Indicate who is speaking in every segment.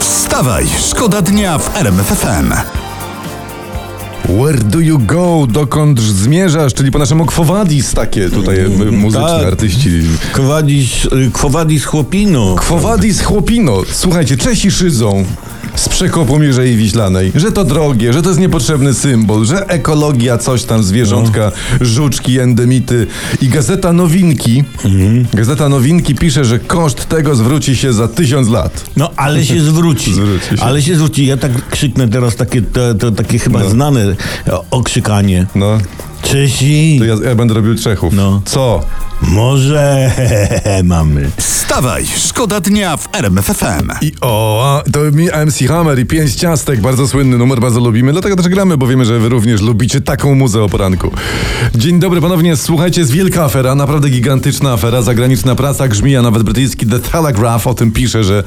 Speaker 1: Wstawaj, szkoda dnia w RMFFM.
Speaker 2: Where do you go? Dokąd zmierzasz? Czyli po naszemu Kwowadis takie tutaj m- muzyczni
Speaker 3: tak.
Speaker 2: artyści.
Speaker 3: Kwowadis, y, kwowadis chłopino.
Speaker 2: Kwowadis chłopino. Słuchajcie, Czesi szydzą z przekopu Mierzei Wiślanej, że to drogie, że to jest niepotrzebny symbol, że ekologia, coś tam, zwierzątka,
Speaker 3: No.
Speaker 2: żuczki, endemity. I Gazeta Nowinki,
Speaker 3: Mhm.
Speaker 2: Gazeta Nowinki pisze, że koszt tego zwróci się za tysiąc lat.
Speaker 3: No, ale się zwróci.
Speaker 2: Zwróci się.
Speaker 3: Ale się zwróci. Ja tak krzyknę teraz takie, to, to, takie chyba znane e, okrzykanie.
Speaker 2: No,
Speaker 3: Czesi,
Speaker 2: to ja, ja będę robił Czechów.
Speaker 3: No.
Speaker 2: Co?
Speaker 3: może mamy.
Speaker 1: Wstawaj, szkoda dnia w RMFFM.
Speaker 2: I o, a, to mi MC Hammer i pięć ciastek, bardzo słynny numer, bardzo lubimy, dlatego też gramy, bo wiemy, że wy również lubicie taką muzę o poranku. Dzień dobry ponownie, słuchajcie, jest wielka afera, naprawdę gigantyczna afera, zagraniczna prasa grzmi, a nawet brytyjski The Telegraph o tym pisze, że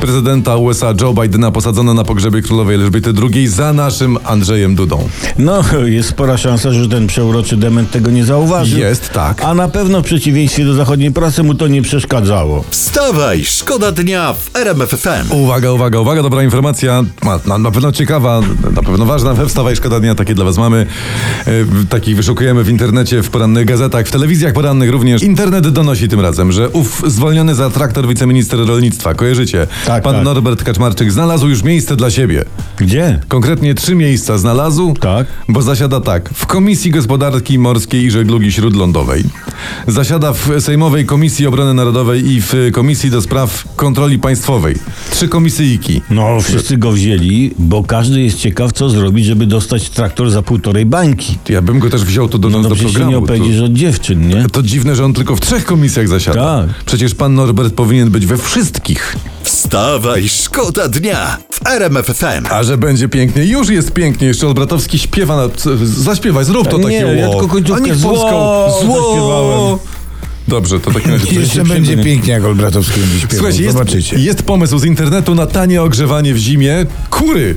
Speaker 2: prezydenta USA Joe Bidena posadzono na pogrzebie królowej Elżbiety II za naszym Andrzejem Dudą.
Speaker 3: No, jest spora szansa, że ten przeuroczy dement tego nie zauważy.
Speaker 2: Jest, tak.
Speaker 3: A na pewno w przeciwieństwie do zachodniej prasy mu to nie przeszkadzało.
Speaker 1: Wstawaj, szkoda dnia w RMFFM.
Speaker 2: Uwaga, uwaga, uwaga, dobra informacja, ma- na, na pewno ciekawa, na pewno ważna, we wstawa i szkoda dnia, takie dla was mamy, E, w- takich wyszukujemy w internecie, w porannych gazetach, w telewizjach porannych również. Internet donosi tym razem, że ów zwolniony za traktor wiceminister rolnictwa, kojarzycie,
Speaker 3: Tak,
Speaker 2: pan
Speaker 3: tak.
Speaker 2: Norbert Kaczmarczyk znalazł już miejsce dla siebie.
Speaker 3: Gdzie?
Speaker 2: Konkretnie trzy miejsca znalazł,
Speaker 3: Tak.
Speaker 2: bo zasiada tak w Komisji Gospodarki Morskiej i Żeglugi Śródlądowej, zasiada w Sejmowej Komisji Obrony Narodowej i w Komisji do Spraw Kontroli Państwowej. Trzy komisyjki.
Speaker 3: No, wszyscy go wzięli, bo każdy jest ciekaw, co zrobić, żeby dostać traktor za półtorej bańki.
Speaker 2: Ja bym go też wziął tu do
Speaker 3: No
Speaker 2: nas do
Speaker 3: dobrze się nie
Speaker 2: programu. To,
Speaker 3: opędzisz od dziewczyn, nie?
Speaker 2: to dziwne, że on tylko w trzech komisjach zasiada.
Speaker 3: Tak.
Speaker 2: Przecież pan Norbert powinien być we wszystkich.
Speaker 1: Wstawaj, szkoda dnia w RMFFM.
Speaker 2: A że będzie pięknie, już jest pięknie. Jeszcze Olbratowski śpiewa na... Zaśpiewaj, zrób to
Speaker 3: Nie,
Speaker 2: takie
Speaker 3: ja
Speaker 2: ło.
Speaker 3: tylko końcówkę
Speaker 2: A niech
Speaker 3: zło
Speaker 2: Polską...
Speaker 3: zaśpiewałem.
Speaker 2: Dobrze, to tak razie...
Speaker 4: Jeszcze
Speaker 3: Przyjemny.
Speaker 4: będzie pięknie, jak Olbratowski będzie śpiewał.
Speaker 2: Słuchajcie, jest,
Speaker 4: Zobaczycie.
Speaker 2: jest pomysł z internetu na tanie ogrzewanie w zimie kury.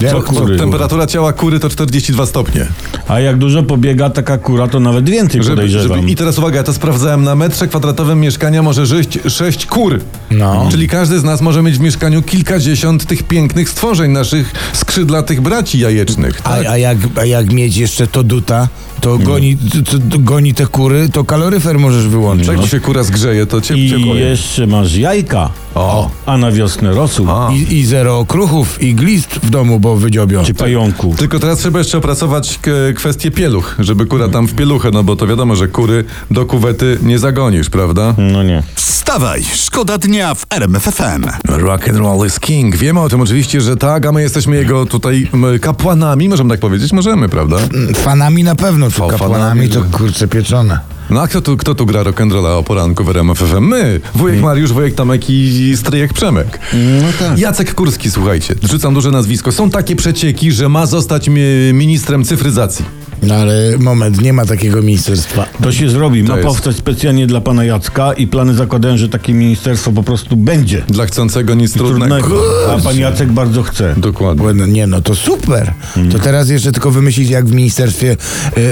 Speaker 3: Jak
Speaker 2: Co-
Speaker 3: kury?
Speaker 2: Temperatura ciała kury to 42 stopnie.
Speaker 3: A jak dużo pobiega taka kura, to nawet więcej
Speaker 2: Żeby,
Speaker 3: podejrzewam.
Speaker 2: żeby, I tak teraz uwaga, ja to sprawdzałem. Na metrze kwadratowym mieszkania może żyć sześć kur.
Speaker 4: No.
Speaker 2: Czyli każdy z nas może mieć w mieszkaniu kilkadziesiąt tych pięknych stworzeń, naszych skrzydlatych braci jajecznych.
Speaker 4: A,
Speaker 2: Tak?
Speaker 4: a, jak, a jak mieć jeszcze to duta, to goni, to, to goni te kury, to kaloryfer możesz wyłączyć.
Speaker 2: Jak się kura zgrzeje, to ciep,
Speaker 3: I
Speaker 2: ciepło.
Speaker 3: jeszcze masz jajka,
Speaker 2: O.
Speaker 3: a na wiosnę rosół
Speaker 4: I, I zero okruchów i glist w domu, bo wydziobią.
Speaker 3: czy pająków.
Speaker 2: Tylko teraz trzeba jeszcze opracować k- kwestię pieluch, żeby kura tam w pieluchę, no bo to wiadomo, że kury do kuwety nie zagonisz, prawda?
Speaker 3: No nie.
Speaker 1: Wstawaj, szkoda dnia w RMFFM.
Speaker 2: Rock and roll is king. Wiemy o tym oczywiście, że tak, a my jesteśmy jego tutaj m, kapłanami, możemy tak powiedzieć? Możemy, prawda?
Speaker 4: Fanami na pewno, czy
Speaker 2: O,
Speaker 4: kapłanami
Speaker 2: fanami,
Speaker 4: to
Speaker 2: że-
Speaker 4: kurczę pieczone.
Speaker 2: No a kto tu, kto tu gra rock'n'rolla o poranku w RMF FM? My! Wujek Mariusz, wujek Tomek i i stryjek Przemek. No tak. Jacek Kurski, słuchajcie, rzucam duże nazwisko. Są takie przecieki, że ma zostać mi- ministrem cyfryzacji.
Speaker 4: No ale moment, nie ma takiego ministerstwa.
Speaker 3: To się zrobi. Ma
Speaker 2: jest-
Speaker 3: powstać specjalnie dla pana Jacka i plany zakładają, że takie ministerstwo po prostu będzie.
Speaker 2: Dla chcącego nic trudnego.
Speaker 3: Trudnego. A pan Jacek bardzo chce.
Speaker 2: Dokładnie.
Speaker 4: Bo no, nie no, to super. To teraz jeszcze tylko wymyślić, jak w ministerstwie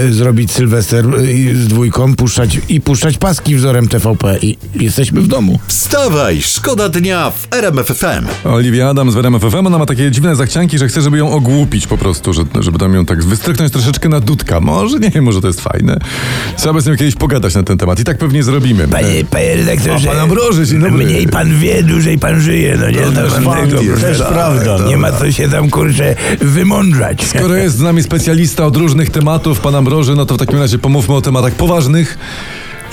Speaker 4: y, zrobić Sylwester y, z dwójką, puszczać i puszczać paski wzorem TVP i jesteśmy w domu.
Speaker 1: Wstawaj, szkoda dnia w RMFFM.
Speaker 2: Oliwia Adam z RMF FM, ona ma takie dziwne zachcianki, że chce, żeby ją ogłupić po prostu, że, żeby tam ją tak wystrychnąć troszeczkę na dudka. Może, nie wiem, może to jest fajne. Trzeba z nią kiedyś pogadać na ten temat i tak pewnie zrobimy.
Speaker 3: Hmm.
Speaker 2: E,
Speaker 4: Panie, panie redaktorze.
Speaker 2: O, pan Ambroży, dzień dobry.
Speaker 4: Mniej pan wie, dłużej pan żyje. No nie znam pan
Speaker 3: fakt,
Speaker 4: tego.
Speaker 3: no to też
Speaker 4: No,
Speaker 3: prawda,
Speaker 4: Nie ma co się tam, kurczę, wymądrzać.
Speaker 2: Skoro jest z nami specjalista od różnych tematów, pan Ambroży, no to w takim razie pomówmy o tematach poważnych.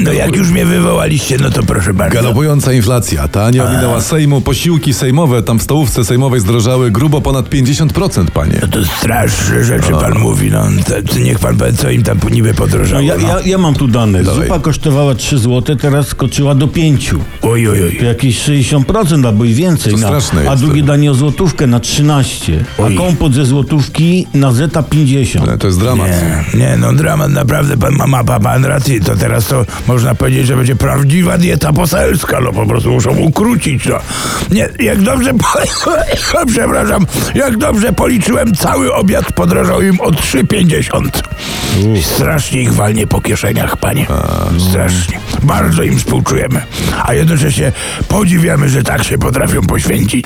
Speaker 4: No jak już mnie wywołaliście, no to proszę bardzo.
Speaker 2: Galopująca inflacja, ta
Speaker 4: Tak.
Speaker 2: nie ominęła Sejmu. Posiłki sejmowe tam w stołówce sejmowej zdrożały grubo ponad 50%, panie.
Speaker 4: No To straszne rzeczy pan mówi, no. To, to niech pan powie, co im tam niby podrożało.
Speaker 3: No, ja,
Speaker 4: No,
Speaker 3: ja, ja mam tu dane.
Speaker 2: Dawaj.
Speaker 3: Zupa kosztowała 3 zł, teraz skoczyła do 5.
Speaker 4: Oj, oj,
Speaker 3: To
Speaker 4: oj.
Speaker 3: Jakieś 60% albo i więcej.
Speaker 2: To
Speaker 3: na-
Speaker 2: straszne
Speaker 3: a
Speaker 2: jest
Speaker 3: drugie
Speaker 2: to.
Speaker 3: danie o złotówkę na 13.
Speaker 4: Oj.
Speaker 3: A kompot ze złotówki na zeta 50.
Speaker 2: Ale E, To jest dramat.
Speaker 4: Nie, nie, no dramat naprawdę, pan ma, ma pan- pan rację, to teraz to można powiedzieć, że będzie prawdziwa dieta poselska, no po prostu muszą ukrócić, no. Nie, jak dobrze, po- przepraszam, jak dobrze policzyłem, cały obiad podrożał im o 3,50. Strasznie ich walnie po kieszeniach, panie. Strasznie. Bardzo im współczujemy, a jednocześnie podziwiamy, że tak się potrafią poświęcić.